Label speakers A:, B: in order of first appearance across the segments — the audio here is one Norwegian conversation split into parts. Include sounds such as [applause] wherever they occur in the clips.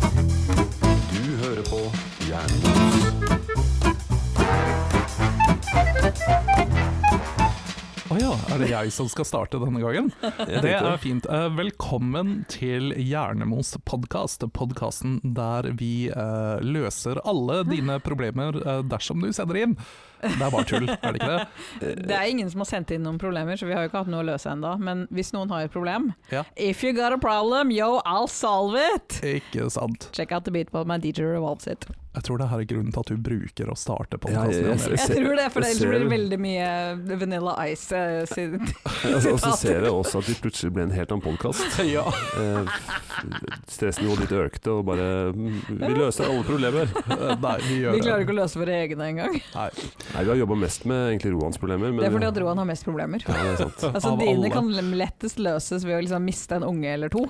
A: Du hører på Jernbos.
B: Å ja, er det jeg som skal starte denne gangen? Det er fint. Eh, Velkommen til Hjernemos podkast, podkasten der vi eh, løser alle dine problemer eh, dersom du sender inn. Det er bare tull, er det ikke det?
C: Det er ingen som har sendt inn noen problemer, så vi har jo ikke hatt noe å løse ennå. Men hvis noen har et problem
B: Ja.
C: If you got a problem, yo, I'll solve it!
B: Ikke sant.
C: Check out the beat på my DJ Revolves it.
B: Jeg tror det her er grunnen til at du bruker å starte
A: Ja, ja, ja.
B: podkasten.
C: Jeg
A: ser-
C: tror det, for
A: jeg
C: ellers
A: ser
C: blir det
A: det.
C: veldig mye Vanilla Ice. eh, siden-
A: Altså, og så ser jeg også at vi plutselig ble en helt annen podkast.
B: Ja.
A: Eh, Stressnivået ditt økte, og bare mm, Vi løser alle problemer.
B: Eh, Nei, vi
C: Vi
B: gjør
C: klarer
B: det.
C: ikke å løse våre egne engang.
B: Nei.
A: Nei, vi har jobba mest med egentlig Roans problemer, men
C: Det er fordi at Roan har mest problemer.
A: ja, det er sant.
C: Altså,
B: Av [laughs] alle.
C: dine kan lettest løses ved å liksom miste en unge eller to.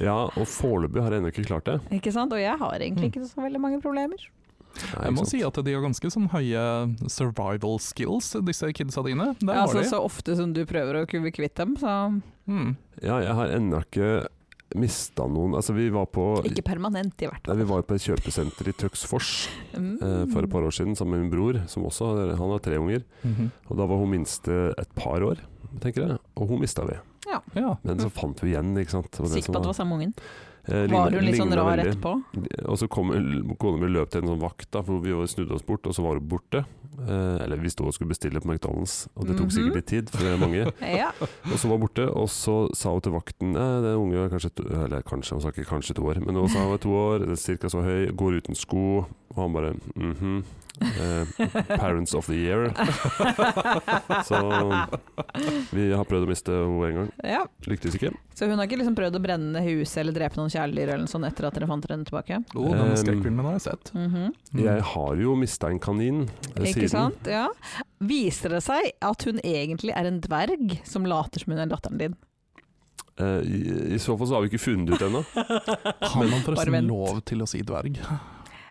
A: Ja, og foreløpig har jeg ennå ikke klart det.
C: Ikke sant? Og jeg har
B: Mm.
C: egentlig ikke så veldig mange problemer.
A: Nei,
B: Jeg må
A: ikke sant.
B: si at de har ganske sånn høye survival skills, disse kidsa dine. Det
C: Ja,
B: har
C: altså,
B: de.
C: så ofte som du prøver å kubbe kvitt dem, så
B: Mm.
A: Ja, jeg har ennå ikke mista noen Altså, vi var på
C: ikke permanent i hvert
A: Nei, vi var jo på et kjøpesenter i Tøksfors
C: fall. Mm.
A: eh, for et par år siden sammen med min bror, som også han har tre unger.
B: Mhm.
A: Og da var hun minste et par år, tenker jeg. Og hun mista vi.
B: Ja.
A: Men så fant vi igjen, ikke sant.
C: Sikker på at det var samme ungen?
A: Eh, ligna-
C: Var hun litt sånn
A: ligna
C: rar
A: veldig.
C: etterpå?
A: Og så kom kona mi og løp til en sånn vakt, da, for vi jo snudde oss bort, og så var hun borte. Eh, eller vi sto og skulle bestille på McDonald's, og det tok
C: Mhm.
A: sikkert litt tid, for det er mange.
C: Ja.
A: Og så var hun borte, og så sa hun til vakten eh, Den unge er kanskje to, Eller kanskje, hun sa ikke kanskje to år, men hun sa hun var to år, cirka så høy, går uten sko, og han bare mhm. eh, parents of the
C: [laughs]
A: year. Så vi har prøvd å miste henne en gang.
C: ja.
A: Lyktes ikke.
C: Så hun har ikke liksom prøvd å brenne huset eller drepe noen kjæledyr eller noe sånt etter at dere fant henne tilbake?
B: Oh, denne
A: Um,
B: skrekkfilmen har jeg sett.
C: Mhm.
B: Mm.
A: Jeg har jo mista en kanin eh,
C: Ikke
A: siden.
C: sant? Ja. Viser det seg at hun egentlig er en dverg som later som hun er datteren din?
A: Eh, i, I så fall så har vi ikke funnet det ut ennå.
B: Har man
C: Bare
B: forresten
C: vent.
B: lov til å si dverg? [laughs]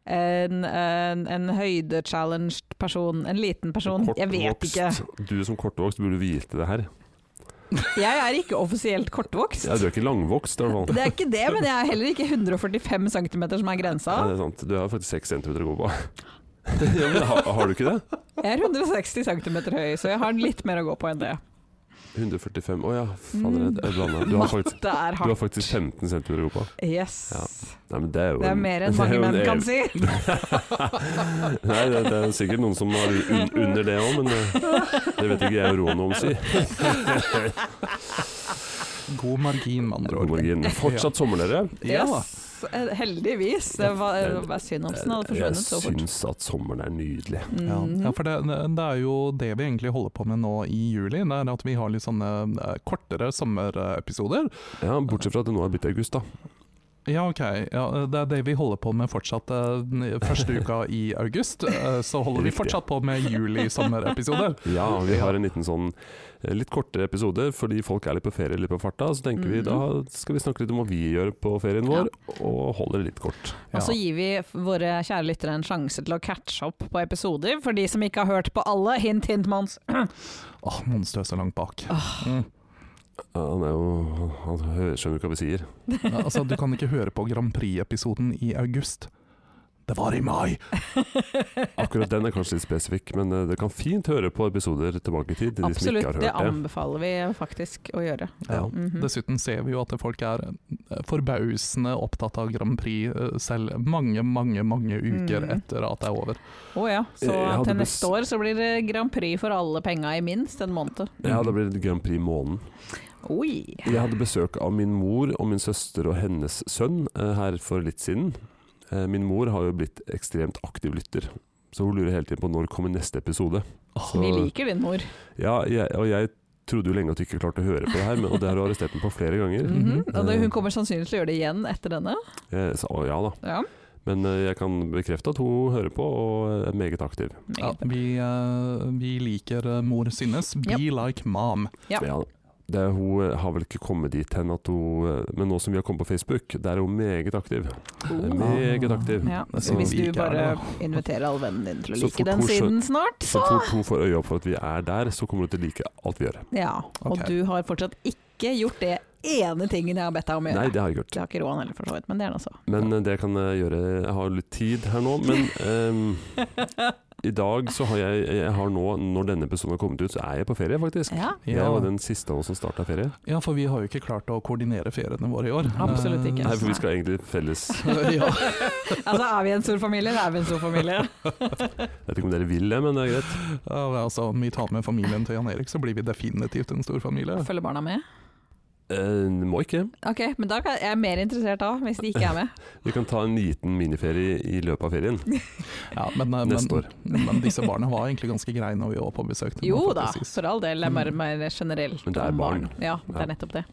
C: En, en, en høydechallenged person, en liten person, jeg vet ikke.
A: Kortvokst. Du som kortvokst burde vite det her.
C: Jeg er ikke offisielt kortvokst.
A: Ja, du er ikke langvokst, i hvert fall.
C: [laughs] Det er ikke det, men jeg er heller ikke 145 cm som er grensa.
A: Nei, det er sant. Du har faktisk 6 cm å gå på. [laughs] ja, men har, har du ikke det?
C: Jeg er 160 cm høy, så jeg har litt mer å gå på enn det.
A: 145 Å ja, fader, jeg- jeg blanda. Du har faktisk,
C: Mm. Det er
A: du har
C: hardt.
A: faktisk 15 cm å gå på.
C: Yes.
A: Nei, men det er jo
C: Det er
A: en-
C: mer
A: [laughs]
C: enn
A: det er
C: mange
A: jo en
C: menn kan
A: ev-
C: si.
A: [laughs] Nei, det, det er sikkert noen som har un under det òg, men eh, det vet ikke jeg og Roan om, si.
B: God margin, med andre ord.
A: Margin. Fortsatt sommerleire.
B: Ja.
C: Yes, eh, heldigvis. Det var,
A: Ja,
C: det
A: det-
C: var synd om den hadde
A: Eh, Jeg
C: forsvunnet så fort.
A: syns at sommeren er nydelig.
B: Ja, ja,
C: Mhm.
B: for det, det er jo det vi egentlig holder på med nå i juli. Det er at vi har litt sånne eh, kortere sommerepisoder.
A: Ja, Bortsett fra at det nå er blitt august, da.
B: Ja, ok. Ja, det er det vi holder på med fortsatt. eh,
C: [laughs]
B: Første uka i august eh, så holder vi
A: Riktig.
B: fortsatt på med
C: [laughs]
B: juli-sommerepisoder.
A: Ja, vi har en liten sånn eh, litt kortere episode fordi folk er litt på ferie litt på farta. Så tenker vi
C: Mhm.
A: da skal vi snakke litt om hva vi gjør på ferien vår, og holder det litt kort.
B: Ja.
C: Og så gir vi f- våre kjære lyttere en sjanse til å catche opp på episoder, for de som ikke har hørt på alle. Hint, hint, Mons.
B: Åh, noen støser langt bak.
A: Ja,
B: Mm.
A: Han er jo Han hø- skjønner jo ikke hva vi sier.
B: Ja, Altså, du kan ikke høre på Grand Prix-episoden i august. Det var i mai!
A: Akkurat den er kanskje litt spesifikk, men eh, det kan fint høre på episoder tilbake i tid. Til de som ikke
C: [laughs] Absolutt,
A: har
C: det
A: hørt det.
C: anbefaler vi faktisk å gjøre.
B: Ja.
C: Mhm.
B: Dessuten ser vi jo at folk er eh, forbausende opptatt av Grand Prix eh, selv mange, mange mange uker
C: Mm.
B: etter at det er over.
C: Å ja, så
A: Eh, Jeg hadde
C: til
A: bes-
C: neste år så blir det Grand Prix for alle penga i minst en måned.
A: Ja, da blir det Grand Prix måneden.
C: Oi.
A: Jeg hadde besøk av min mor og min søster og hennes sønn eh, her for litt siden. Eh, Min mor har jo blitt ekstremt aktiv lytter, så hun lurer hele tiden på når kommer neste episode.
B: Åh,
A: Så-
C: Vi liker din mor.
A: Ja, jeg, og jeg trodde jo lenge at du ikke klarte å høre på det her, men, og det har du arrestert meg på flere ganger.
C: Mhm. Og
A: Eh.
C: det, hun kommer sannsynligvis til å gjøre det igjen etter denne.
A: Jeg sa ja da.
C: Ja,
A: Men eh, jeg kan bekrefte at hun hører på og er meget aktiv.
C: meget
B: ja, vi, eh, vi liker eh, mor Synnes. Be like mom.
C: Ja.
A: Ja da. det, er- hun eh, har vel ikke kommet dit hen at hun eh, Men nå som vi har kommet på Facebook, der er hun meget aktiv. Meget aktiv.
C: Ja,
B: Det er
C: så
A: Mm. så
C: hvis
B: vi
C: du
B: ikke er
C: bare
B: det,
C: inviterer alle vennene dine til
A: [laughs]
C: å
A: Så
C: like
A: fort
C: den
A: hun skjøn-
C: siden snart,
A: Så
C: så
A: fort hun får øye opp for at vi er der, så kommer hun til å like alt vi gjør.
C: Ja, og
B: Ok.
C: du har fortsatt ikke gjort det ene tingen jeg har bedt deg om å
A: Nei,
C: gjøre.
A: det har jeg ikke gjort.
C: Det har ikke Roan heller, for så vidt, men det er det altså.
A: Men eh, det kan jeg gjøre Jeg har litt tid her nå, men ehm, i dag så har jeg, jeg har nå, når denne episoden har kommet ut, så er jeg på ferie, faktisk.
C: Ja.
A: Jeg var
B: Ja,
A: den siste av oss som starta ferie.
B: ja, for vi har jo ikke klart å koordinere feriene våre i år.
C: [laughs] Absolutt
B: Eh,
C: ikke.
A: Nei, for vi skal egentlig felles
B: [laughs]
A: [laughs]
B: ja.
C: Altså, er vi en stor familie, eller er vi en stor familie?
A: Jeg vet ikke om dere vil det, men det er greit.
B: Ja, men altså, om vi tar med familien til Jan Erik, så blir vi definitivt en stor familie.
C: Følger barna med?
A: Eh, må ikke.
C: Ok, men da kan, jeg er mer interessert da, hvis de ikke er
A: [laughs]
C: med.
A: Vi kan ta en liten miniferie i løpet av ferien.
B: Ja, men, eh,
A: Neste år.
B: [laughs] men, men disse barna var egentlig ganske greie når vi var på besøk. til dem,
C: Jo
B: for
C: da,
B: precis.
C: for all del. Det er bare mer generelt
A: Mm. Men det er
C: om
A: barn.
C: Ja, det
A: Ja.
C: er nettopp det.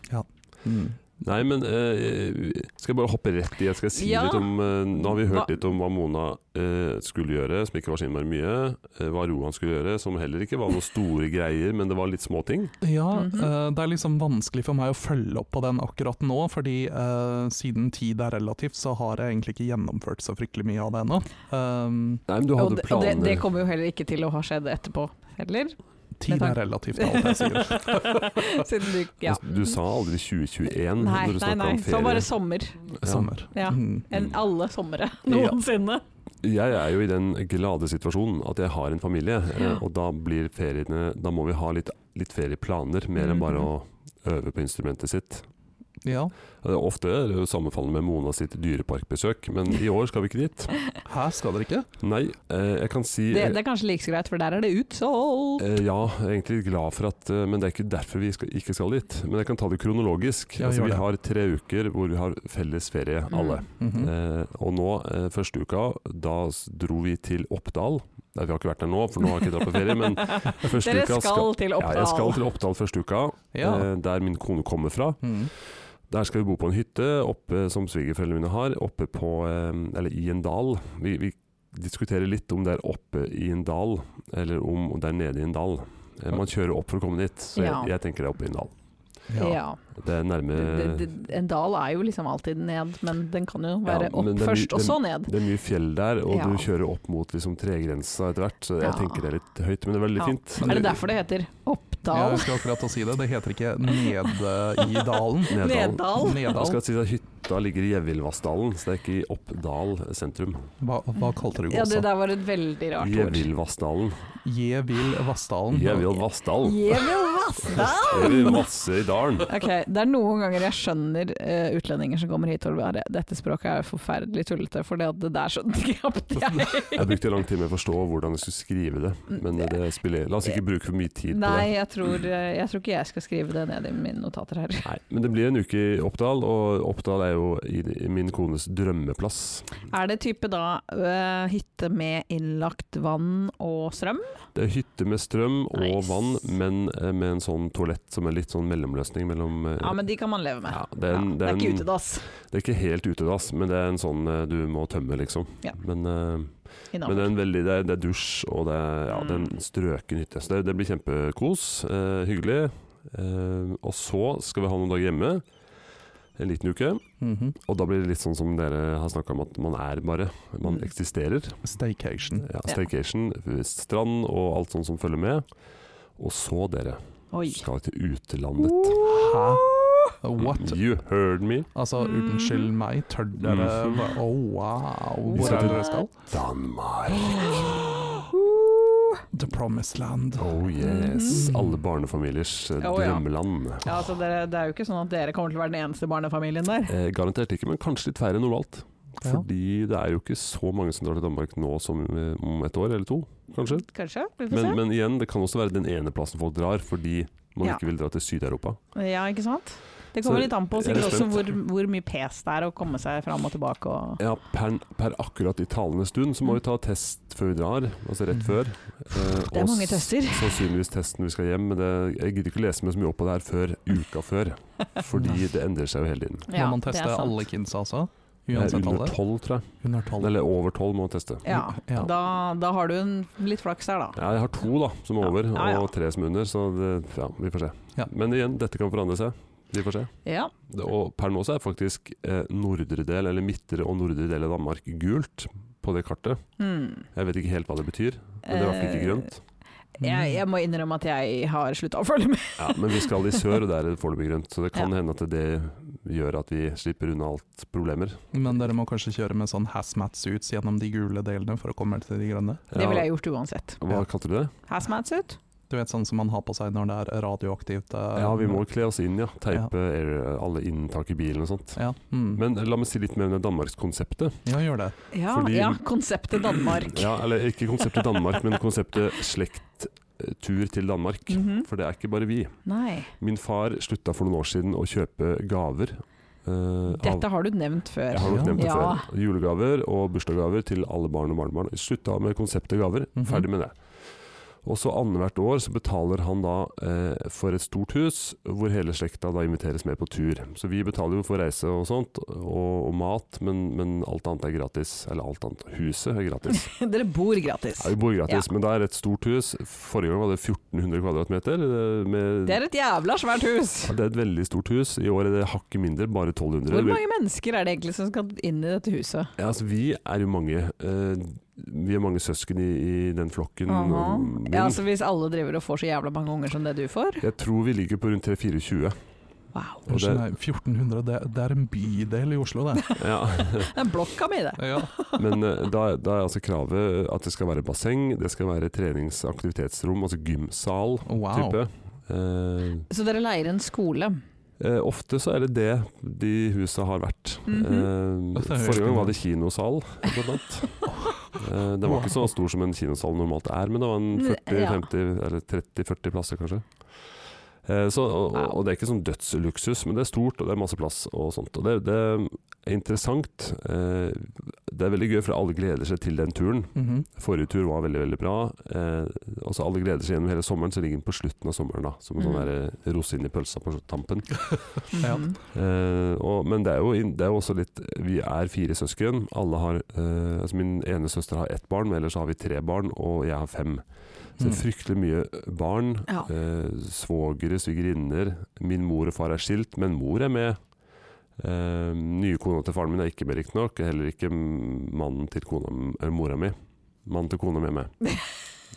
B: Mm.
A: Nei, men eh, skal jeg bare hoppe rett i? Jeg skal si
C: Ja.
A: litt om eh, Nå har vi hørt
C: Hva-
A: litt om hva Mona eh, skulle gjøre, som ikke var så innmari mye. eh, hva Roan skulle gjøre, som heller ikke var noen store greier, men det var litt små ting.
B: Ja,
C: Mhm.
B: eh, det er liksom vanskelig for meg å følge opp på den akkurat nå, fordi eh, siden tid er relativt, så har jeg egentlig ikke gjennomført så fryktelig mye av det ennå. Um,
A: Nei, men du
C: Og
A: hadde
C: det, og det,
A: planer
C: det kommer jo heller ikke til å ha skjedd etterpå,
A: [laughs]
C: heller.
B: tid
C: takk.
B: er relativt, alt jeg sier.
C: [laughs] Siden du, ja.
A: Altså, Du sa aldri 2021
C: Nei,
A: når du
C: nei,
A: snakka
C: nei. Sånn
A: om
C: Så bare
A: ferie.
C: sommer.
B: Sommer.
C: Ja.
B: Mm.
C: Enn alle [laughs] sommere
B: Ja.
C: noensinne.
A: Jeg er jo i den glade situasjonen at jeg har en familie, eh,
C: Ja.
A: og da blir feriene Da må vi ha litt, litt ferieplaner,
C: Mm.
A: mer enn bare å øve på instrumentet sitt.
B: Ja.
A: Eh, Ofte er det jo sammenfallende med Mona sitt dyreparkbesøk, men i år skal vi ikke dit.
B: Her skal dere ikke?
A: Nei, eh, jeg kan si
C: Det, det er kanskje like så greit, for der er det utsolgt.
A: Eh, Ja, jeg er egentlig litt glad for at eh, Men det er ikke derfor vi skal, ikke skal dit. Men jeg kan ta det kronologisk.
B: Ja,
A: altså,
B: gjør
A: vi
B: det.
A: har tre uker hvor vi har felles ferie,
C: Mm.
A: alle.
B: Mhm.
A: Eh, og nå, eh, første uka, da s- dro vi til Oppdal. Nei, vi har ikke vært der nå, for nå har jeg ikke dratt på ferie.
C: [laughs]
A: Men første
C: Dere
A: uka
C: skal til
A: ja, jeg skal
C: Oppdal.
A: til Oppdal første uka,
B: Ja.
A: eh, der min kone kommer fra.
B: Mm.
A: Der skal vi bo på en hytte oppe, som svigerforeldrene mine har, oppe på eh, Eller i en dal. Vi, vi diskuterer litt om det er oppe i en dal, eller om det er nede i en dal. Eh, Man kjører opp for å komme dit, så jeg,
C: Ja.
A: jeg tenker det er oppe i en dal.
B: Ja.
C: Ja.
A: Det er nærme
C: Det- det- En dal er jo liksom alltid ned, men den kan jo være
A: Eh, Ja,
C: opp
A: men det er mye-
C: først, og
A: det er
C: så ned.
A: Det er mye fjell der, og
C: Ja.
A: du kjører opp mot liksom, tregrensa etter hvert, så jeg
C: Ja.
A: tenker det er litt høyt, men det er veldig
C: Ja.
A: fint.
B: Men
C: Er det derfor det heter
B: Ja,
C: Oppdal?
B: jeg skal akkurat å si det. Det heter ikke nede i dalen.
A: Neddal.
C: Neddal?
A: Jeg
B: Nedal.
A: skal si at Hytta ligger i Gjevildvassdalen, så det er ikke i Oppdal sentrum.
B: Hva, hva kalte du
C: Ja,
B: også?
C: det der var et veldig rart ord.
A: Gjevildvassdalen.
B: Jevil Vassdalen.
A: Gjevildvassdalen. [laughs]
C: Jevil-Vassdal!
A: Eller Vasse i dalen.
C: Ok, Det er noen ganger jeg skjønner eh, utlendinger som kommer hit og bare Dette språket er jo forferdelig tullete, for det, det der skjønte knapt jeg.
A: Jeg brukte lang tid med å forstå hvordan jeg skulle skrive det, men det spiller La oss ikke bruke for mye tid på det.
C: Nei, jeg tror, eh, jeg tror ikke jeg skal skrive det ned i mine notater her.
A: Nei, men det blir en uke i Oppdal, og Oppdal er jo i, i min kones drømmeplass.
C: Er det type da eh, hytte med innlagt vann og strøm?
A: Det er hytte med strøm og
C: Nice.
A: vann, men eh, med en sånn toalett som er litt sånn mellomløsning mellom eh,
C: Ja, men de kan man leve med.
A: ja, det, er en,
C: Ja,
A: det, er
C: ikke
A: en,
C: utedass
A: det er ikke helt utedass, men det er en sånn eh, du må tømme, liksom.
C: Ja.
A: Men, eh, men det,
C: innafor.
A: er en veldig, det, er, det er dusj, og det er, ja, det er
C: Mm.
A: en strøken hytte. Så det, det blir kjempekos. eh, hyggelig. Eh, og så skal vi ha noen dager hjemme. En liten uke.
B: Mhm.
A: Og da blir det litt sånn som dere har snakka om, at man er bare. Man
C: Mm.
A: eksisterer.
B: Staycation.
A: Ja, staycation, strand og alt sånt som følger med. Og så, dere,
C: Oi.
A: skal til utlandet.
B: Hæ?
A: Eh.
B: What?
A: You heard me.
B: Altså,
C: Mm.
B: unnskyld meg, tør dere
A: Mhm.
B: hva- Å, wow.
A: Vi
B: Hvor
A: skal
B: er
A: til-
B: det dere skal?
C: [gasps]
A: Danmark.
B: The Promised Land.
A: Oh yes. Alle barnefamiliers eh,
C: Oh, Mm. ja.
A: drømmeland.
C: Ja, altså dere, det er jo ikke sånn at dere kommer til å være den eneste barnefamilien der.
A: Eh, garantert ikke, men kanskje litt færre enn normalt.
B: Ja.
A: Fordi det er jo ikke så mange som drar til Danmark nå som eh, om et år eller to, kanskje.
C: Kanskje? Vi får
A: Men, men igjen, det kan også være den ene plassen folk drar fordi man
C: Ja.
A: ikke vil dra til Syd-Europa.
C: se. Ja, ikke sant? Det kommer
A: Så
C: litt an på
A: jeg er
C: sikkert også
A: spent.
C: hvor, hvor mye pes det er å komme seg fram og tilbake og
A: Ja, per, per akkurat i talende stund så må vi ta test før vi drar, altså rett før. Eh,
C: Mhm. Det er
A: og
C: mange
A: s-
C: tester. [laughs]
A: Sannsynligvis testen vi skal hjem, men det, jeg gidder ikke lese meg så mye opp på det her før uka før. Fordi det endrer seg jo hele tiden.
B: Må man teste alle kidsa, altså?
A: Det er
B: Uansett
A: under
B: alder?
A: tolv, tror jeg.
B: Under tolv.
A: Eller over tolv må man teste.
C: Ja,
B: Ja.
C: Da, da har du en litt flaks der, da.
A: Ja, jeg har to da, som er over,
C: Ja, ja.
A: og tre som er under, så det, ja, vi får se.
B: Ja.
A: Men igjen, dette kan forandre seg. Vi får se.
C: Ja.
A: Det, og per nå så er faktisk eh, nordre del, eller midtre og nordre del av Danmark gult på det kartet.
C: Hmm.
A: Jeg vet ikke helt hva det betyr, men det er i hvert fall ikke
C: Eh,
A: grønt.
C: Jeg, jeg må innrømme at jeg har slutta å følge med.
A: Ja, men vi skal i sør, og der er det foreløpig grønt. Så det kan hende at det gjør at vi slipper unna alt problemer.
B: Men dere må kanskje kjøre med sånn hazmat suits gjennom de gule delene for å komme til de grønne?
C: Det ville jeg gjort uansett.
A: Hva kalte du det?
C: Hazmats ut?
B: Du vet sånn som man har på seg når det er radioaktivt? eh,
A: Ja, vi må kle oss inn, ja. Teipe air- alle inntak i bilen og sånt.
B: Ja, mm.
A: Men la meg si litt mer om det danmarkskonseptet.
B: ja gjør det.
C: Ja,
A: Fordi-
C: ja, konseptet Danmark.
A: Ja, eller ikke konseptet Danmark, men konseptet slekttur til Danmark.
C: Mhm.
A: For det er ikke bare vi.
C: Nei.
A: Min far slutta for noen år siden å kjøpe gaver. eh, av,
C: Dette har du nevnt før.
A: jeg har nok nevnt det
C: Ja.
A: før. Julegaver og bursdagsgaver til alle barn og barnebarn. Slutta med konseptet gaver.
B: Mhm.
A: Ferdig med det. Og så Annethvert år så betaler han da eh, for et stort hus, hvor hele slekta da inviteres med på tur. Så vi betaler jo for reise og sånt, og, og mat, men, men alt annet er gratis. Eller alt annet. Huset er gratis.
C: [laughs] Dere bor gratis.
A: Ja, vi bor gratis, men det er et stort hus. Forrige gang var det 1400 kvadratmeter. eh, Med
C: Det er et jævla svært hus!
A: Ja, det er et veldig stort hus. I år er det hakket mindre, bare 1200.
C: Hvor mange mennesker er det egentlig som skal inn i dette huset?
A: Ja, altså, vi er jo mange. eh, vi er mange søsken i, i den flokken.
C: Aha.
A: og min.
C: Ja, altså Hvis alle driver og får så jævla mange unger som det du får?
A: Jeg tror vi ligger på rundt 3-24.
C: Wow.
A: Og
B: Unnskyld, nei, 1400, det, det er en bydel i Oslo,
A: [laughs]
B: det.
A: Ja.
C: Det er blokka mi, det.
B: Ja.
A: Men eh, da, da er altså kravet at det skal være basseng, det skal være trenings- og aktivitetsrom, altså gymsal.
B: Wow.
A: Type. Eh,
C: Så dere leier en skole.
A: eh, ofte så er det det de husa har vært.
C: Mhm.
A: Eh,
B: Det er jo
A: forrige gang
B: helt
A: var det kinosal, blant annet. Eh, den var ikke så stor som en kinosal normalt er, men det var en
C: N-
A: 40,
C: ja.
A: 50, eller 30-40 plasser, kanskje. Eh, så, og, og- og det er ikke sånn dødsluksus, men det er stort, og det er masse plass og sånt. Og det, det er interessant. Eh, det er veldig gøy, for alle gleder seg til den turen.
B: Mhm.
A: Forrige tur var veldig veldig bra. Eh, og så Alle gleder seg gjennom hele sommeren, så ligger den på slutten av sommeren. da Som en sånn
C: Mhm.
A: der, eh, rosin i pølsa på tampen.
B: Ja.
C: Mhm.
A: Eh, og, men det er, jo, inn- det er jo også litt Vi er fire søsken. Alle har eh, altså Min ene søster har ett barn, men ellers har vi tre barn, og jeg har fem. Så
B: Mm.
A: det er fryktelig mye barn.
C: Ja.
A: Eh, svogere, svigerinner. Min mor og far er skilt, men mor er med. Eh, nye kona til faren min er ikke med, riktignok. Heller ikke mm, mannen til kona, m- eller mora mi. Mannen til kona mi er med.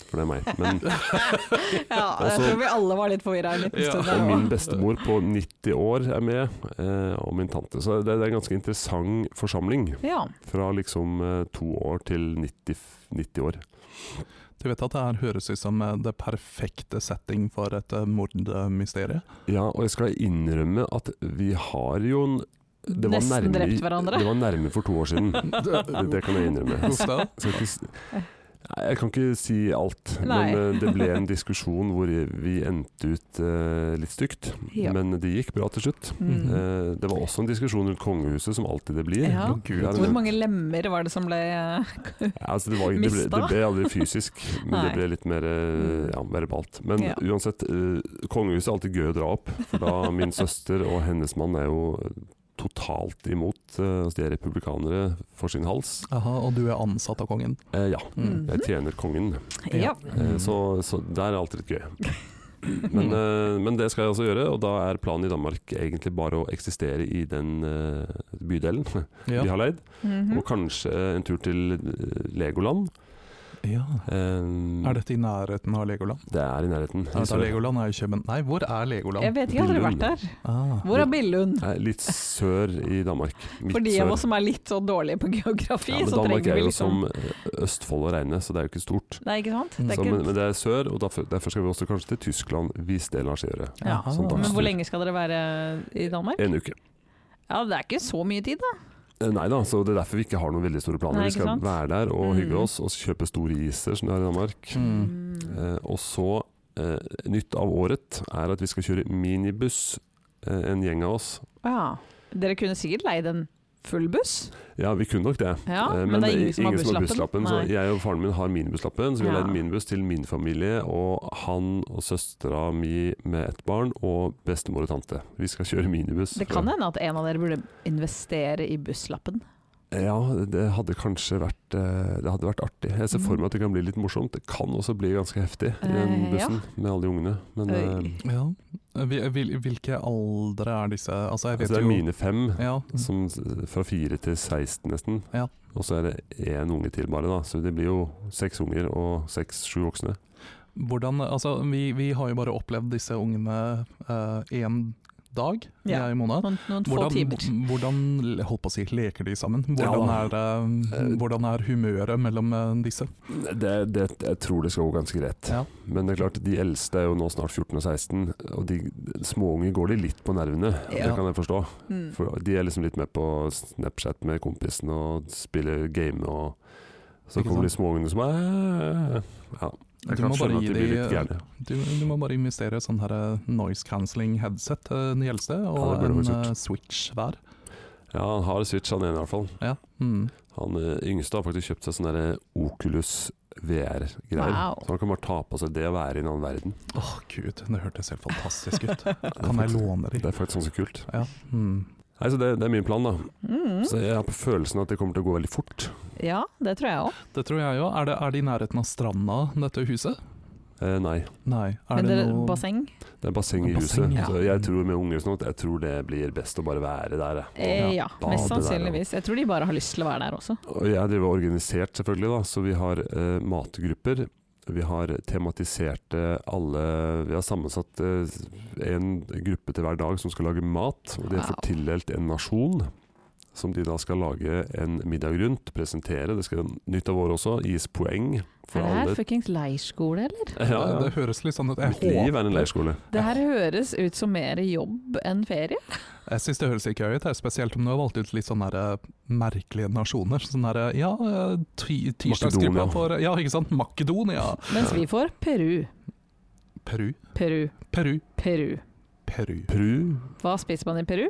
A: For det er meg. Men,
C: [laughs] ja, jeg
A: Også-
C: tror vi alle var litt forvirra en liten
B: Ja.
C: stund.
A: og
C: der
A: min
C: også.
A: bestemor på 90 år er med, eh, og min tante. Så det, det er en ganske interessant forsamling.
C: Ja.
A: Fra liksom eh, to år til 90, 90 år.
B: Du vet at det her høres ut som eh, det perfekte setting for et eh, mordmysterium?
A: Ja, og jeg skal innrømme at vi har jo en det var
C: Nesten
A: nærme,
C: drept hverandre.
A: Det var nærme for to år [laughs] siden. [laughs] Det, det kan jeg innrømme.
B: Uff da.
A: Jeg, skal ikke, s- Nei, jeg kan ikke si alt,
C: Nei.
A: men eh, det ble en diskusjon hvor vi endte ut eh, litt stygt.
C: Ja.
A: Men det gikk bra til slutt.
C: Mm.
A: Eh, det var også en diskusjon rundt kongehuset, som alltid det blir.
C: Ja.
B: Å, Gud.
A: Ja,
C: Hvor mange lemmer var det som ble eh,
A: Ja, altså det, var, det, ble,
C: Mista.
A: det ble aldri
C: [laughs]
A: fysisk, men det
C: Nei.
A: ble litt mer eh, ja, verbalt. Men
C: Ja.
A: uansett, eh, kongehuset er alltid gøy å dra opp. For
C: [laughs]
A: da min søster og hennes mann er jo totalt imot. eh, altså de er republikanere for sin hals.
B: Aha, og du er ansatt av kongen?
A: Eh, ja,
B: Mm.
C: Mhm.
A: jeg tjener kongen.
C: Ja.
A: Eh, så, så der er det alltid litt gøy.
C: [laughs]
A: Men, eh, men det skal jeg også gjøre, og da er planen i Danmark egentlig bare å eksistere i den eh, bydelen
B: Ja.
A: de har leid.
C: Mhm.
A: Og kanskje en tur til eh, Legoland.
B: ja.
A: Eh,
B: Er dette i nærheten av Legoland?
A: Det er i nærheten.
B: Ja, da Legoland er jo København Nei, hvor er
C: Jeg
B: Legoland?
C: vet ikke, jeg har aldri
A: Billund.
C: vært der.
B: Ah.
C: Hvor er Billund?
A: Nei, litt sør i Danmark. Midt
C: For de
A: sør.
C: av oss som er litt så dårlige på geografi,
A: ja, men
C: så
A: Danmark
C: trenger
A: er
C: vi
A: jo
C: liksom
A: som eh, Østfold å regne, så det er jo ikke stort.
C: Nei, ikke sant? Det er
A: Så, men,
C: ikke...
A: men det er sør, og derfor, derfor skal vi også kanskje til Tyskland, hvis det lar seg gjøre.
C: Ja.
B: Aha.
A: Sånn
C: Men
A: dagstur.
C: hvor lenge skal dere være i Danmark?
A: En uke.
C: Ja, Det er ikke så mye tid, da.
A: Eh, Nei da, så det er derfor vi ikke har noen veldig store planer.
C: Nei,
A: vi
C: ikke
A: skal
C: sant?
A: være der og
C: Mm.
A: hygge oss, og kjøpe store iser som de har i Danmark.
B: Mm.
A: Eh, og så, eh, nytt av året er at vi skal kjøre minibuss, eh, en gjeng av oss.
C: Ja. Dere kunne sikkert leid en full buss.
A: Ja, vi kunne nok det.
C: Ja,
A: Eh,
C: men det er ingen som har busslappen.
A: Så
C: Nei.
A: jeg og faren min har minibusslappen, så vi har
C: Ja.
A: leid minibuss til min familie. Og han og søstera mi med ett barn, og bestemor og tante. Vi skal kjøre minibuss.
C: Det kan hende at en av dere burde investere i busslappen.
A: Ja, det hadde kanskje vært eh, Det hadde vært artig. Jeg ser for meg at det kan bli litt morsomt. Det kan også bli ganske heftig i den
C: Mm. Eh, ja.
A: bussen med alle de ungene. Men eh,
C: Oi.
B: Ja. Hvil- hvil- Hvilke aldre er disse? Altså, jeg vet
A: altså det er
B: jo
A: mine fem,
B: Ja.
A: som, s- fra fire til 16 nesten.
B: Ja.
A: Og så er det én unge til bare, da. Så det blir jo seks unger og seks-sju voksne.
B: Hvordan, altså, vi, vi har jo bare opplevd disse ungene én dag,
C: Ja.
B: jeg og Mona.
C: Noen, noen få
B: Hvordan,
C: timer.
B: hvordan jeg holdt på å si, leker de sammen?
A: Ja,
B: Hvordan
A: da.
B: er, eh, hvordan er humøret mellom eh, disse?
A: Det, det, jeg tror det skal gå ganske greit.
B: Ja.
A: Men det er klart, de eldste er jo nå snart 14 og 16, og de småunger går de litt på nervene.
C: Ja.
A: Det kan jeg forstå.
C: Mm.
A: For de er liksom litt med på Snapchat med kompisen og spiller game og Så
B: Ikke
A: kommer de
B: sant?
A: småungene som er Ja. Jeg
B: Du
A: kan
B: må bare
A: skjønne at
B: gi eh,
A: de blir
B: de,
A: litt gærne.
B: Du, du må bare investere i sånn her eh, noise cancelling headset til den eldste,
A: Ja, det burde
B: og en
A: faktisk gjort.
B: eh, switch hver.
A: Ja, han har switch, han ene i hvert fall.
B: Ja. Mm.
A: Han eh, yngste har faktisk kjøpt seg sånn derre Oculus VR-greier.
C: Wow.
A: Så han kan bare ta på seg det og være i en annen verden.
B: Åh, gud, det hørtes helt fantastisk [laughs] ut.
A: Det er
B: Kan jeg
A: faktisk-
B: låne de?
A: Det er faktisk ganske kult.
B: Ja. Mm.
A: Nei, så det, det er min plan, da.
C: Mm.
A: Så jeg har på følelsen at det kommer til å gå veldig fort.
C: Ja, det tror jeg òg.
B: Det tror jeg jo. Er det, er det i nærheten av stranda, dette huset?
A: Eh, nei.
B: Nei. Er
C: Men det er
B: noe-
C: basseng?
A: Det er basseng i
B: Basseng,
A: huset.
B: ja.
A: Så jeg tror med unger og sånt, jeg tror det blir best å bare være der. jeg.
C: Eh, ja,
A: bade
C: mest
A: der, ja.
C: sannsynligvis. Jeg tror de bare har lyst til å være der også.
A: Og jeg driver organisert selvfølgelig, da, så vi har eh, matgrupper. Vi har tematisert eh, alle Vi har sammensatt eh, en gruppe til hver dag som skal lage mat. Og de
C: Wow.
A: får tildelt en nasjon. Som de da skal lage en middag rundt, presentere. Det skal nytt av året også. Gis poeng for
C: Er det her
A: alle.
C: fuckings leirskole, eller?
A: Ja, ja.
B: Det høres litt sånn ut. Jeg,
A: Mitt liv er en
B: håper-
A: leirskole.
C: Det her høres ut som mer jobb enn ferie.
B: Jeg syns det høres ikke gøy ut, her, spesielt om du har valgt ut litt sånne der, eh, merkelige nasjoner. Sånn derre Ja, eh, ti- tirsdagsgruppa
A: Makedonia.
B: for Ja, ikke sant? Makedonia.
C: Mens vi får Peru,
B: Peru.
C: Peru,
B: Peru.
C: Peru.
B: Peru.
A: Peru
C: Hva spiser man i Peru?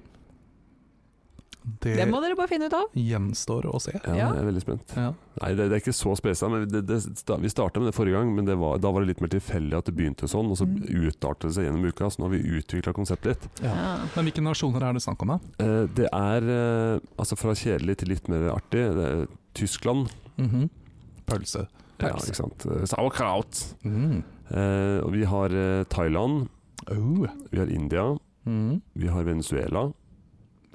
A: Eh,
B: Det,
C: Det må dere bare finne ut av.
B: gjenstår å se.
A: ja,
C: Ja.
A: jeg er veldig spent.
B: Ja.
A: Nei, det, det er ikke så spesa. Men det, det, sta- vi starta med det forrige gang, men det var, da var det litt mer tilfeldig at det begynte sånn. Og så
C: Mm.
A: utartet det seg gjennom uka, så nå har vi utvikla konseptet litt.
B: Ja.
C: Ja.
B: Men hvilke nasjoner er det snakk om, da?
A: Eh, det er eh, altså fra kjedelig til litt mer artig. Det er Tyskland.
B: Mhm. Pølse.
A: Ja,
B: Pølse.
A: ikke sant. Eh, Sauerkraut.
B: Mm.
A: Eh, og vi har eh, Thailand.
B: Oh.
A: Vi har India.
B: Mm.
A: Vi har Venezuela.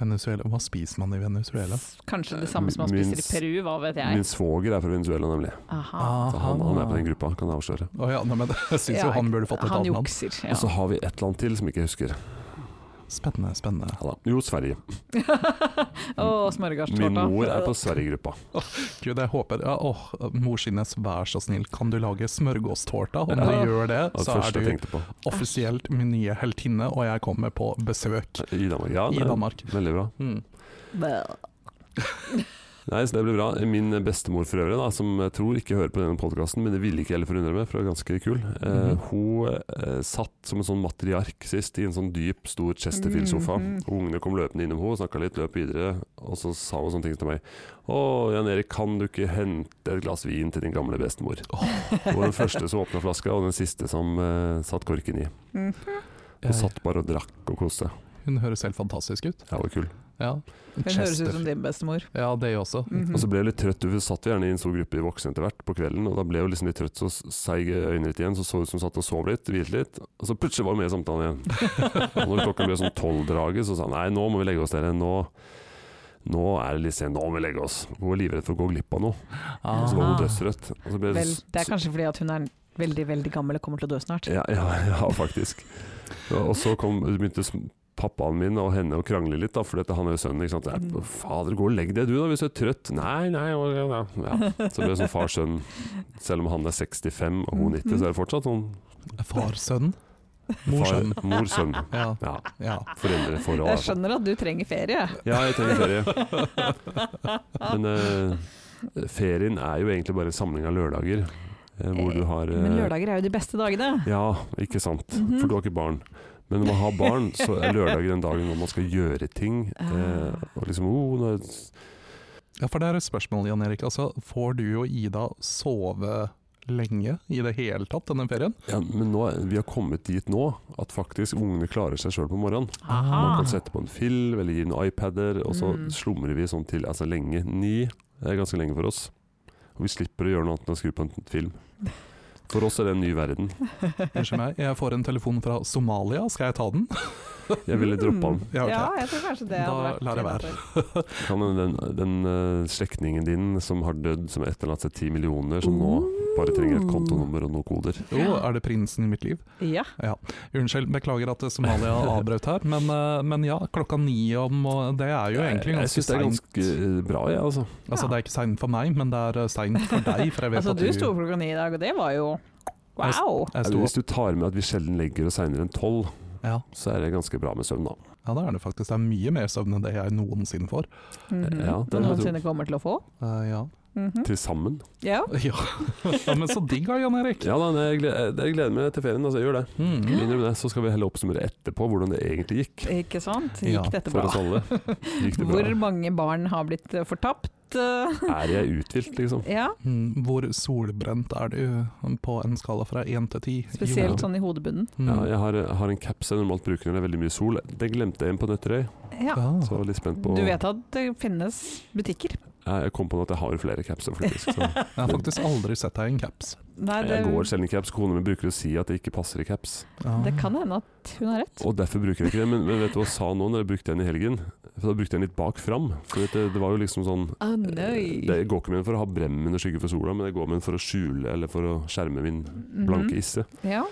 B: Venezuela. Hva spiser man i Venezuela?
C: Kanskje det samme som man
A: Min-
C: spiser i Peru, hva vet jeg.
A: Min svoger er fra Venezuela, nemlig.
C: Aha.
A: Så han, han er på den gruppa, kan jeg avsløre.
B: Å ja, nei, men [laughs] jeg syns
C: Ja,
B: jo han burde fått et
C: Han
B: annet navn.
C: jukser. Ja.
A: Og så har vi et eller annet til som ikke jeg husker.
B: Spennende, spennende.
A: Ja, da. Jo, Sverige.
C: Å,
A: Min
C: smørgardstorta.
A: mor er på Sverige-gruppa.
B: Gud, jeg håper ja, åh, Morskines, vær så snill, kan du lage smørgåstårta? Om
A: Ja.
B: du gjør
A: Det
B: det,
A: var
B: så
A: det
B: er
A: første jeg
B: du
A: tenkte på.
B: offisielt min nye heltinne, og jeg kommer på besøk
A: I Danmark. Ja,
B: i
A: det er
B: Danmark.
A: veldig bra.
B: Mm.
A: Nei, så det blir bra. Min bestemor for øvrig, da, som jeg tror ikke hører på denne podkasten, men det ville ikke heller forundre meg, for hun er ganske kul. Eh,
B: Mhm.
A: Hun eh, satt som en sånn matriark sist, i en sånn dyp, stor Chesterfield-sofa.
C: Mhm.
A: Og Ungene kom løpende innom henne, snakka litt, løp videre, og så sa hun sånne ting til meg. 'Å, Jan Erik, kan du ikke hente et glass vin til din gamle bestemor?' Hun var den første som åpna flaska, og den siste som eh, satt korken i.
C: Mm,
A: Hun
B: Jeg,
A: satt bare og drakk og koste seg.
B: hun høres helt fantastisk ut.
A: Det var kult.
B: Ja.
C: Hun høres ut som din bestemor.
B: Ja, det også. [laughs]
C: Mhm.
A: Og så ble jeg litt trøtt. Vi satt jo gjerne i en stor gruppe i voksne etter hvert på kvelden, og da ble jeg jo liksom litt trøtt, så seig øynene litt igjen, så så ut som hun satt og sov litt, hvilte litt, og så plutselig var hun med i samtalen igjen. og når klokka ble sånn tolvdraget, så sa hun nei, nå må vi legge oss, dere. Nå, nå er det litt sent, nå må vi legge oss. Hun var livredd for å gå glipp av noe, og så var
B: Ah.
A: hun dødsrødt. Og så ble
C: Vel, det er
A: så,
C: kanskje fordi at hun er veldig, veldig gammel og kommer til å dø snart.
A: ja, ja, ja, [laughs] faktisk. Og og så kom, begynte sm- pappaen min og henne å krangle litt, da, for han er jo sønnen. ikke sant? Jeg,
C: Mm.
A: Fader, gå og legg deg du, da, hvis du er trøtt. Nei, nei. å, Ja, ja. ja. Så det ble sånn far-sønn. Selv om han er 65 og hun 90, så er det fortsatt sånn
B: Far,
A: [laughs]
B: sønn? Mor,
A: far-
B: sønn.
A: mor-sønn.
B: Ja,
A: Ja,
B: ja.
A: foreldreforhold.
C: Jeg
A: altså.
C: skjønner at du trenger ferie.
A: Ja, jeg trenger ferie.
C: [laughs]
A: Men eh, ferien er jo egentlig bare en samling av lørdager. eh, hvor du har eh,
C: Men lørdager er jo de beste dagene.
A: Ja, ikke sant.
C: Mhm.
A: For du har ikke barn. Men når man har barn, så er lørdager den dagen hvor man skal gjøre ting. eh, og liksom, oh, nå er det-
B: ja, for det er et spørsmål, Jan Erik. Altså, får du og Ida sove lenge i det hele tatt denne ferien.
A: Ja, men nå, er- vi har kommet dit nå at faktisk ungene klarer seg sjøl på morgenen. Man
C: Aha.
A: kan sette på en film eller gi den iPader, og så
C: Ah. Mm.
A: slumrer vi sånn til altså lenge. Ni er ganske lenge for oss. Og vi slipper å gjøre noe annet enn å skru på en film. For oss er det en ny verden.
B: Unnskyld meg, jeg får en telefon fra Somalia, skal jeg ta den?
A: Jeg ville droppa den.
B: Ja, ok.
C: Ja, jeg tror kanskje det
B: Da
C: hadde vært
B: lar jeg være.
C: innenfor.
A: Kan hende den, den eh, slektningen din som har dødd, som har etterlatt seg ti millioner, som
C: Oh.
A: nå bare trenger et kontonummer og noen koder.
B: Jo, er det prinsen i mitt liv?
C: Ja.
B: Unnskyld, beklager
A: [laughs]
B: at Somalia avbrøt her, men, eh, men ja, klokka ni om, og det er jo
A: Jeg-
B: egentlig
A: jeg
B: ganske
A: synes det er
B: seint.
A: ganske eh, bra, jeg, altså.
B: Altså, det er ikke seint for meg, men det er eh, seint for deg, for jeg vet
C: Altså,
B: at
C: du sto opp klokka ni i dag, og det var jo wow!
B: Jeg sto
A: Hvis du tar med at vi sjelden legger oss seinere enn tolv,
B: opp. Ja,
A: så er det ganske bra med søvn, da.
B: ja, det er det faktisk. Det er mye mer søvn enn det jeg noensinne får.
A: Ja,
C: Mhm.
A: det
C: Og
A: har jeg tro.
C: noensinne kommer til å få.
B: Eh, ja. [laughs]
C: Mhm.
A: Til sammen.
C: Ja.
B: ja. ja, men så digg da, Jan Erik.
A: Ja da, jeg gleder, jeg gleder meg til ferien, altså. Jeg gjør det.
B: Mm.
A: Innrøm det, så skal vi heller oppsummere etterpå hvordan det egentlig gikk.
C: Ikke sant? Gikk
B: Ja,
C: dette
A: For
C: bra?
A: oss alle. Gikk det
C: Hvor
A: bra?
C: mange barn har blitt eh, fortapt? eh, [laughs]
A: Er jeg uthvilt, liksom?
C: Ja,
B: Mm, Hvor solbrent er du um, på en skala fra én til ti?
C: spesielt sånn i hodebunnen.
B: Mm.
A: Ja, jeg har, har en caps jeg normalt bruker når det er veldig mye sol. Det glemte jeg inn på Nøtterøy,
C: Ja.
B: Ah.
A: så jeg var litt spent på
C: Du vet at det finnes butikker?
A: Jeg jeg kom på nå at jeg har flere capser, faktisk. [laughs] Så.
B: Jeg har faktisk aldri sett deg i en caps.
C: Nei,
A: Jeg går sjelden i caps. Kona mi bruker å si at det ikke passer i caps.
B: Ah.
C: det kan hende at hun har rett.
A: Og derfor bruker jeg ikke det. Men, men vet du hva jeg sa nå når jeg brukte den i helgen? For Da brukte jeg den litt bak fram. For det, det var jo liksom sånn
C: Å
A: eh, Det går ikke med den for å ha bremmen og skygge for sola, men det går med den for å skjule eller for å skjerme min blanke isse.
C: Mhm. Ja,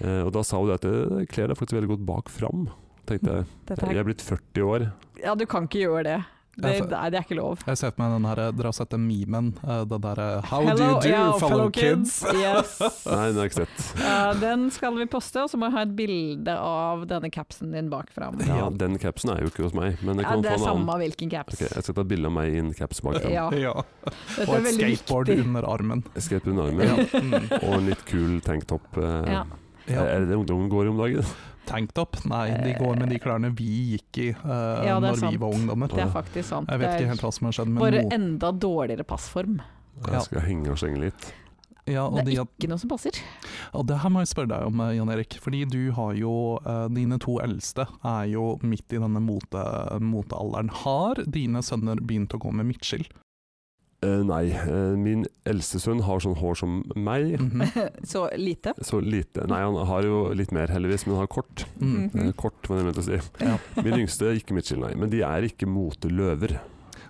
A: Eh, og da sa hun det at det kler deg faktisk veldig godt bak fram. Tenkte jeg.
C: dette
A: Jeg
C: her.
A: er blitt 40 år.
C: ja, du kan ikke gjøre det. Det,
B: Jeg får-
C: nei, det er ikke lov.
B: Jeg ser på meg den her, Dere har sett den memen? eh, Den derre How do
C: Hello,
B: you do,
C: yeah,
B: fellow kids? [laughs]
C: Yes.
A: Nei, den har jeg ikke sett.
C: [laughs] Eh, den skal vi poste, og så må jeg ha et bilde av denne capsen din bak fram.
A: Ja, Den capsen er jo ikke hos meg, men jeg
C: Ja,
A: kan
C: det
A: få
C: er
A: en annen.
C: samme hvilken caps.
A: Ok, jeg skal ta bilde av meg i en caps bak fram.
C: Ja,
B: Ja.
C: dette
B: Og
C: er
B: et
C: veldig
B: skateboard
C: viktig.
B: under armen.
A: Escape under
C: [laughs]
A: armen.
B: [laughs] Ja. Mm.
A: Og en litt kul tanktop. eh,
C: Ja.
B: Ja.
A: Er det det ungdommen går i om dagen?
B: Tanktop? Nei, de går med de klærne vi gikk i uh,
C: eh, Ja, det er
B: når
C: sant.
B: vi var ungdommer.
C: Det er faktisk sant.
B: Jeg vet
C: Det er
B: ikke helt hva som har skjedd, men
C: Bare
B: no,
C: enda dårligere passform.
B: Ja.
A: Jeg skal henge og slenge litt.
B: ja, og,
C: Det
B: de,
C: er ikke noe som
B: [laughs]
C: passer.
B: og det her må jeg spørre deg om, eh, Jan Erik. Fordi du har jo eh, Dine to eldste er jo midt i denne mote, motealderen. Har dine sønner begynt å gå med midtskill?
A: Eh, nei, eh, min eldste sønn har sånn hår som meg.
B: Mhm.
C: Så lite.
A: Så lite Nei, han har jo litt mer, heldigvis, men han har kort.
B: Mm.
A: Eh,
C: Mhm.
A: kort, var det jeg mente å si.
B: Ja.
A: Min yngste er ikke midtskill, nei. Men de er ikke moteløver.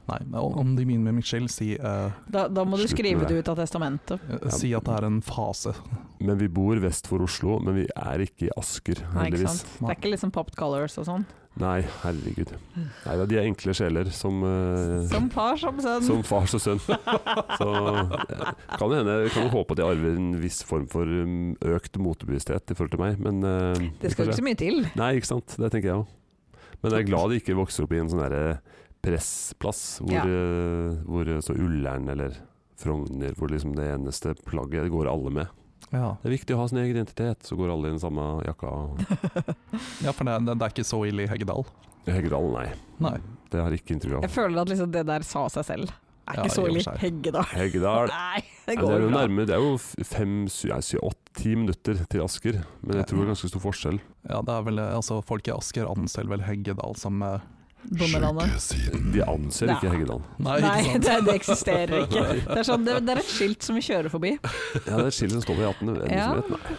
B: Nei, og om de begynner med midtskill, si, eh,
C: Da, da må du
A: Slutt med
C: skrive
A: det.
C: det ut av testamentet.
B: eh, si at det er en fase.
A: Men vi bor vest for Oslo, men vi er ikke i Asker,
C: Nei, ikke
A: heldigvis.
C: sant? Det er ikke liksom popped colors og sånn.
A: Nei, herregud. Nei, da, de er enkle sjeler som eh,
C: Som far, som sønn.
A: Som far og sønn. Så eh, kan det hende, kan jo håpe at jeg arver en viss form for um, økt motebevissthet i forhold til meg, men eh,
C: det
A: vi får
C: skal ikke
A: se.
C: så mye til.
A: Nei, ikke sant. Det tenker jeg òg. Men jeg er glad de ikke vokser opp i en sånn derre pressplass hvor,
C: Ja.
A: eh, hvor eh, så Ullern eller Frogner, hvor liksom det eneste plagget går alle med.
B: Ja,
A: Det er viktig å ha sin egen identitet, så går alle i den samme jakka.
C: [laughs]
B: ja for det, det, det er ikke så ille i Heggedal.
A: Heggedal, nei.
B: Nei.
A: Det har jeg ikke inntrykk
C: Jeg
A: av.
C: føler at liksom det der sa seg selv. Det er
B: Ja, i
C: ikke så
B: og for
C: ille.
B: seg.
C: Heggedal.
A: Heggedal.
C: Nei, det
A: Nei, Det
C: går
A: er jo
C: bra.
A: nærme, det er jo f- fem, sy, nei, sy, åtte, ti minutter til Asker, men jeg tror det er ganske stor forskjell.
B: Ja, det er vel, eh, altså, folk i Asker anser vel Heggedal som eh,
C: Bondelandet.
B: sykesiden.
A: De anser ikke
C: Nei.
A: Heggedal.
B: Nei,
C: Nei,
B: ikke
C: [laughs]
B: sant?
C: det, det eksisterer ikke. Det er, sånn, det, det er et skilt som vi kjører forbi.
A: Ja, det er chili som står på jatten. er det
C: Ja.
A: noe som heter?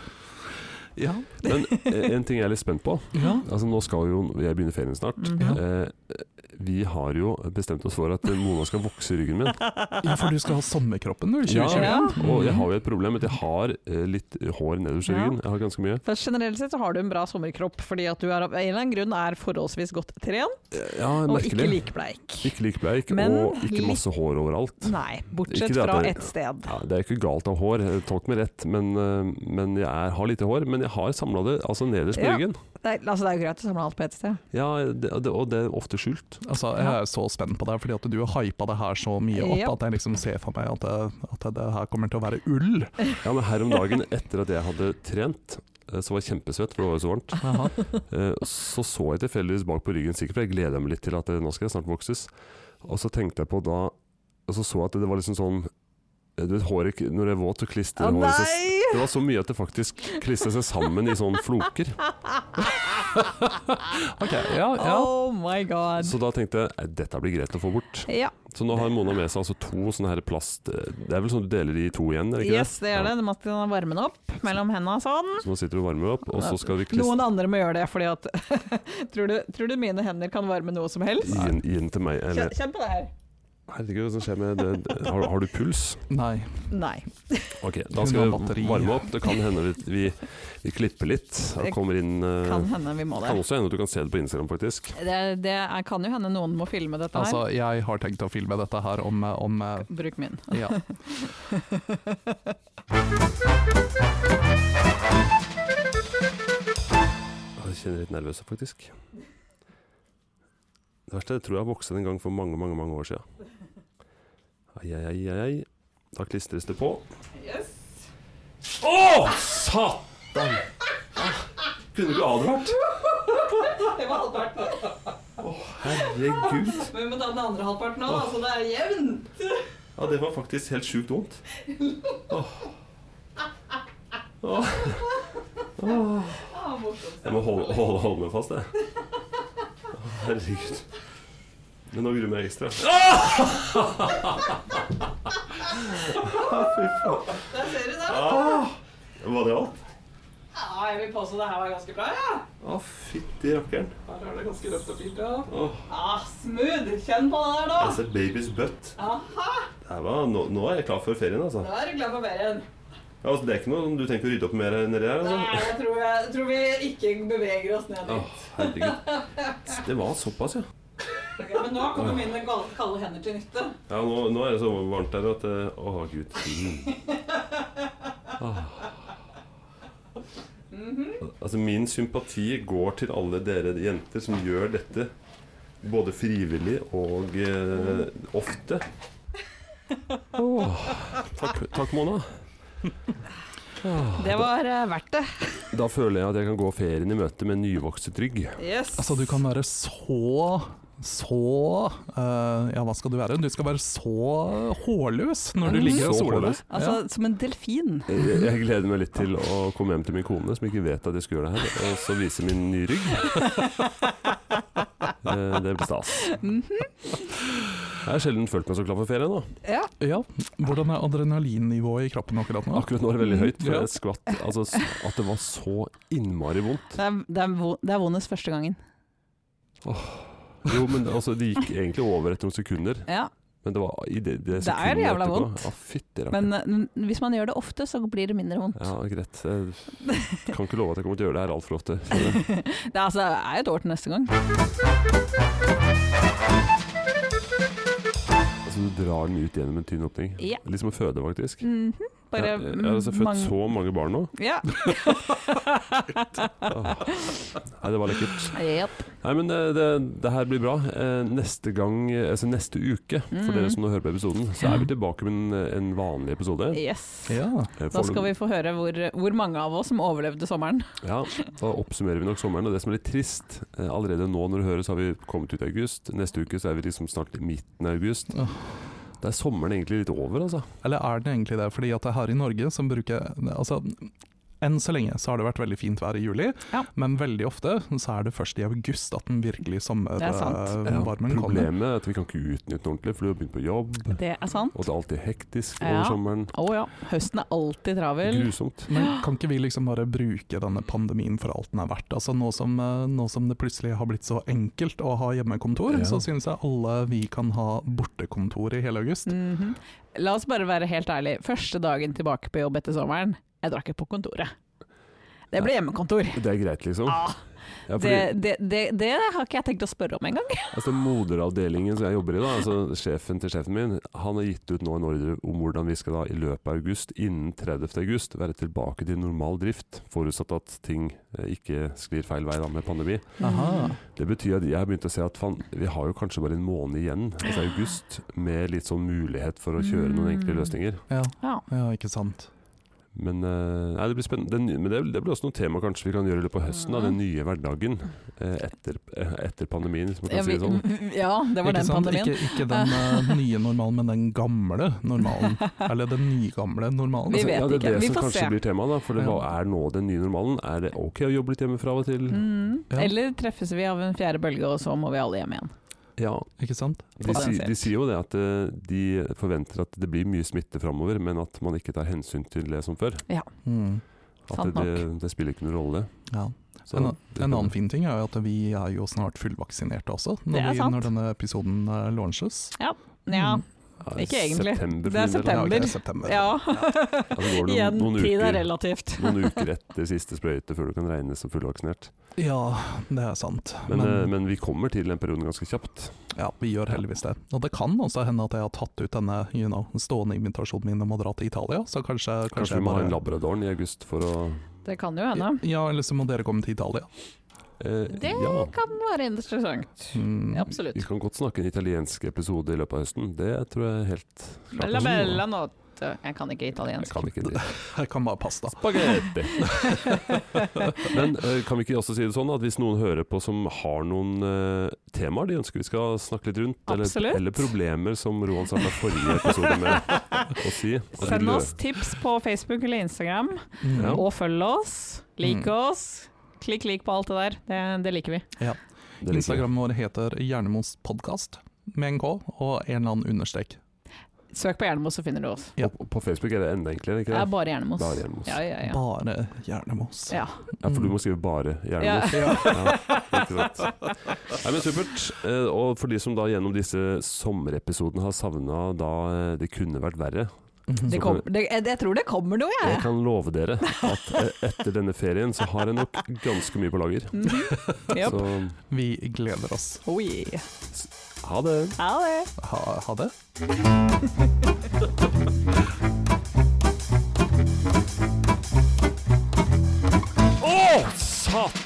B: Ja.
A: Nei. Eh, En ting jeg er litt spent på.
B: ja.
A: Altså, nå skal jo jeg begynne ferien snart.
C: Mhm.
A: Eh, vi har jo bestemt oss for at Mona skal vokse i ryggen min.
B: ja, for du skal ha sommerkroppen du, i
A: Ja.
B: 2021.
C: Ja.
A: Og jeg har jo et problem, at jeg har eh, litt hår nederst i
C: Ja.
A: ryggen. Jeg har ganske mye.
C: For generelt sett så har du en bra sommerkropp, fordi at du er av en eller annen grunn er forholdsvis godt trent,
A: Ja,
C: og ikke
A: merkelig.
C: likbleik.
A: Ikke lik bleik,
C: Men
A: og ikke
C: litt-
A: masse hår overalt.
C: Nei, bortsett
A: Ikke det at
C: fra
A: det-
C: ett sted.
A: Ja, det er ikke galt å ha hår, eh, tolk meg rett, men, eh, men jeg er, har lite hår. Men jeg har samla det altså nederst på
C: Ja.
A: ryggen.
C: Det er, altså, det er jo greit å samle alt på ett sted.
A: Ja, det, det, og det er ofte skjult.
B: Altså, jeg er så spent på det, fordi at du har hypa det her så mye opp
C: Ja.
B: at jeg liksom ser for meg at det, at det her kommer til å være ull.
A: Ja, men her om dagen, etter at jeg hadde trent, eh, så var jeg kjempesvett, for det var jo så varmt.
B: Jaha.
A: Eh, Så så jeg tilfeldigvis bak på ryggen, sikkert, for jeg gleda meg litt til at eh, nå skal jeg snart vokses. Og så tenkte jeg på da Og så så jeg at det var liksom sånn du vet, håret k- når det er våt, så klistrer
C: Å
A: håret seg s-
C: nei!
A: Det var så mye at det faktisk klistrer seg sammen i sånne floker.
C: [laughs]
B: Ok, ja, ja.
C: Oh my god.
A: Så da tenkte jeg "Nei, dette blir greit å få bort.
C: Ja,
A: Så nå har Mona med seg altså to sånne her plast... Det er vel sånn du deler de i to igjen, er det ikke
C: yes, det
A: Ja.
C: gjør det. Du måtte varme den opp mellom hendene sånn.
A: Så nå sitter du og varmer opp, og så skal vi klistre
C: Noen andre må gjøre det, fordi at [laughs] tror, du, tror du mine hender kan varme noe som helst?
A: Gi den- gi den til meg. Eller,
C: Kjenn, kjenn på det her.
A: herregud, hva som skjer med det? det- Har, har du puls?
B: Nei.
C: Nei.
A: Ok, da skal
B: Hun har
A: vi
B: batteri.
A: varme opp. Det kan hende vi, vi, vi klipper litt. Det
C: Det
A: kommer inn eh,
C: Kan hende vi må
A: kan
C: det.
A: også hende at du kan se det på Instagram, faktisk.
C: Det, det er, kan jo hende noen må filme dette her.
B: Altså, jeg har tenkt å filme dette her om, eh, om eh,
C: Bruk min.
B: ja.
A: Ja, Jeg kjenner litt nervøs, faktisk. Det verste er at jeg tror jeg har vokst en gang for mange, mange mange år siden. Ai, ai, ai, ai, ai. Da klistres det på. Yes. Å, satan! Ah, Kunne du advart?
C: Det var halvparten.
A: Herregud.
C: Men vi må ta den andre halvparten òg, så det er jevnt.
A: Ja, det var faktisk helt sjukt vondt. Åh. Åh. Åh. Jeg må holde, holde, holde meg fast, jeg. Åh, Herregud. Men nå gruer jeg meg ekstra. Åh, Fy faen.
C: Der ser du det.
A: Åh. Var det alt?
C: Ja, jeg vil påstå det her var ganske bra, ja.
A: Å, fytti rakkeren.
C: Her er det ganske løft og fint, ja.
A: Åh.
C: Ah, smooth! Kjenn på det der, da.
A: Altså, baby's butt.
C: Aha,
A: Det her var, nå, nå er jeg klar for ferien, altså.
C: da er du glad for ferien.
A: Ja, altså. Det er ikke noe du tenker å rydde opp mer nedi her?
C: Nei,
A: altså?
C: jeg tror, jeg, jeg tror vi ikke beveger oss ned
A: Åh,
C: dit.
A: herregud. Det var såpass, ja.
C: Ok, men nå kommer mine gal- kalde hender til nytte.
A: Ja, nå, nå er det så varmt her at eh, Å, gud. Mm. Ah. Altså, min sympati går til alle dere jenter som gjør dette både frivillig og eh, ofte. Åh, takk, takk, Mona.
C: Det var eh, verdt det.
A: Da føler jeg at jeg kan gå ferien i møte med nyvokset rygg.
C: Yes.
B: Altså, du kan være så så eh, Ja, hva skal du være? Du skal være så hårløs når du ligger og
A: Så
B: soler deg.
A: hårløs.
B: Ja.
C: Altså, som en delfin.
A: Jeg, jeg gleder meg litt til å komme hjem til min kone, som ikke vet at jeg skal gjøre det her, og så vise min nye
C: [laughs]
A: rygg. Eh, Det blir stas.
C: Mhm.
A: Jeg har sjelden følt meg så klar for ferie nå.
C: Ja.
B: Ja, hvordan er adrenalinnivået i kroppen akkurat nå?
A: Akkurat nå er det veldig høyt, for
B: Ja.
A: jeg skvatt altså, s- at det var så innmari vondt.
C: Det er, det er, vo- det er vondest første gangen.
A: Jo, men altså, det gikk egentlig over etter noen sekunder,
C: Ja,
A: men det var i det, det
C: Det er
A: sekundet
C: jævla
A: etterpå.
C: vondt.
A: Ja, fytti rakkeren.
C: Men uh, eh, hvis man gjør det ofte, så blir det mindre vondt.
A: Ja, greit. Jeg kan ikke love at jeg kommer til å gjøre det her altfor ofte. skjønner jeg.
C: Det er, altså, det er jo et år til neste gang.
A: Altså, du drar den ut gjennom en tynn åpning.
C: Ja.
A: Litt som å føde, faktisk.
C: Mhm. Bare
A: Jeg, jeg har altså født
C: mange-
A: så mange barn
C: [laughs]
A: nå. [laughs]
C: Ja.
A: Nei, det var lekkert.
C: Jep.
A: Nei, men det, det, det her blir bra. Eh, neste gang, eh, altså neste uke, for
C: Mhm.
A: dere som nå hører på episoden, så er vi tilbake med en, eh, en vanlig episode.
C: Yes.
B: Ja.
A: Eh,
C: Da skal vi få høre hvor, hvor mange av oss som overlevde sommeren.
A: Ja, da oppsummerer vi nok sommeren. Og det som er litt trist, eh, allerede nå når du hører, så har vi kommet ut i august. Neste uke så er vi liksom snart i midten av august.
B: Åh.
A: Da er sommeren egentlig litt over, altså.
B: Eller er den egentlig det? Fordi at det er her i Norge som bruker Altså, enn så lenge så har det vært veldig fint vær i juli,
C: Ja.
B: men veldig ofte så er det først i august at den virkelig
C: Det er sant.
B: sommervarmen kommer.
A: Problemet er at vi kan ikke utnytte den ordentlig, for du har begynt på jobb,
C: Det er sant.
A: og det er alltid hektisk
C: Ja.
A: over sommeren.
C: Å ja. Høsten er alltid travel.
A: Grusomt.
B: Men kan ikke vi liksom bare bruke denne pandemien for alt den er verdt? Altså Nå som, eh, nå som det plutselig har blitt så enkelt å ha hjemmekontor,
A: Ja.
B: så syns jeg alle vi kan ha bortekontor i hele august.
C: Mhm. La oss bare være helt ærlige. Første dagen tilbake på jobb etter sommeren, jeg drar ikke på kontoret. Det ble hjemmekontor.
A: Det er greit, liksom.
C: Ah,
A: Ja, fordi-
C: det, det, det, det har ikke jeg tenkt å spørre om engang.
A: Altså Moderavdelingen som jeg jobber i, da, altså sjefen til sjefen min, han har gitt ut nå en ordre om hvordan vi skal da i løpet av august, innen 30. august, være tilbake til normal drift, forutsatt at ting eh, ikke sklir feil vei da med pandemi.
C: Mm.
B: Aha.
A: Det betyr at jeg har begynt å se at fan, vi har jo kanskje bare en måned igjen, altså
C: Mm.
A: august, med litt sånn mulighet for å kjøre noen enkle løsninger.
B: Ja,
C: Ja.
B: ja ikke sant.
A: Men, eh, nei, det blir spennende. Den, nye- men det, det blir også noe tema kanskje vi kan gjøre i løpet av høsten. Da, den nye hverdagen eh, etter, eh, etter pandemien, hvis man kan
C: Ja,
A: si
C: vi,
A: det sånn.
C: ja, det
B: ikke
C: var den
B: sant?
C: pandemien.
B: Ikke, ikke den
C: [laughs]
B: eh, nye normalen, men den gamle normalen. Eller den nygamle normalen.
C: Vi
A: Altså,
C: vet
A: ja, det er
C: ikke.
A: det
C: Vi
A: som
C: får
A: kanskje
C: se.
A: blir tema, da. For det, hva er nå den nye normalen? Er det ok å jobbe litt hjemmefra av og til?
C: Mm.
B: Ja.
C: Eller treffes vi av en fjerde bølge, og så må vi alle hjem igjen.
A: Ja,
B: Ikke sant?
A: de, si,
C: Potensielt.
A: de sier jo det at eh, de forventer at det blir mye smitte framover, men at man ikke tar hensyn til det som før.
B: Mm.
A: At
C: Sant
A: det, det, det spiller ikke noen rolle.
B: Ja.
A: Så
B: En,
A: det-
B: en annen fin ting er jo at vi er jo snart fullvaksinerte også,
C: Det
B: når,
C: er
B: vi,
C: sant.
B: når denne episoden eh, launches.
C: Ja.
B: Mm.
A: Ja,
C: Ikke egentlig.
A: September,
C: Det er
A: for min del.
B: Ja, ok, september.
C: September. ja.
A: Ja, det går noen-
C: Igjen,
A: noen
C: tid
A: uker.
C: er relativt.
A: Noen
C: [laughs]
A: uker etter siste sprøyte før du kan regnes som fullvaksinert.
B: ja, det er sant.
A: Men, eh, men vi kommer til den perioden ganske kjapt.
B: Ja, vi gjør heldigvis det. Og det kan også hende at jeg har tatt ut denne you know, stående invitasjonen min om å dra til Italia. Så kanskje, kanskje,
A: Kanskje
B: jeg
A: vi må ha
B: bare-
A: en Labradoren i august for å
C: Det kan jo hende.
B: Ja, eller så må dere komme til Italia.
A: eh,
C: Det
A: Ja.
C: kan være interessant.
B: Mm.
A: Vi
C: Absolutt.
A: kan godt snakke en italiensk episode i løpet av høsten. Det tror jeg er helt
C: Bella bella notte. Jeg kan ikke
A: Jeg
C: italiensk.
A: kan ikke det.
B: Jeg kan bare pasta.
C: [laughs]
A: Spagetti! Men eh, kan vi ikke også si det sånn at hvis noen hører på som har noen eh, temaer de ønsker vi skal snakke litt rundt, eller,
C: Absolutt.
A: eller problemer som Roan sa med forrige episode
C: [laughs]
A: med å si at vi
C: Send
A: lø-
C: oss tips på Facebook eller Instagram,
B: Mm.
A: Ja.
C: og følg oss. Lik
B: Mm.
C: oss. Klikk lik på alt det der. Det, det liker vi.
A: det liker jeg.
B: Instagrammen vår heter Hjernemos podcast med en K og en eller annen understrek.
C: Søk på Jernemos, så finner du oss.
B: Ja.
A: Og på Facebook er det enda enklere, ikke
C: Det er
A: det?
C: bare Jernemos.
A: Bare Jernemos.
C: Ja, ja, ja.
B: Bare Hjernemos.
C: ja.
A: Ja, for du må skrive 'bare' gjerne.
C: Mm. [laughs] Ja.
A: Ja, ikke sant. Nei, men supert. Eh, Og for de som da gjennom disse sommerepisodene har savna da eh, det kunne vært verre,
B: Mhm.
C: Det kom, det, jeg, jeg tror det kommer noe,
A: jeg
C: jeg.
A: kan love dere at eh, etter denne ferien så har jeg nok ganske mye på lager.
C: Mhm. Japp.
A: Så
B: Vi gleder oss.
C: Oh, yeah.
A: ha det.
C: Ha det.
B: Ha, ha det.
A: Satan!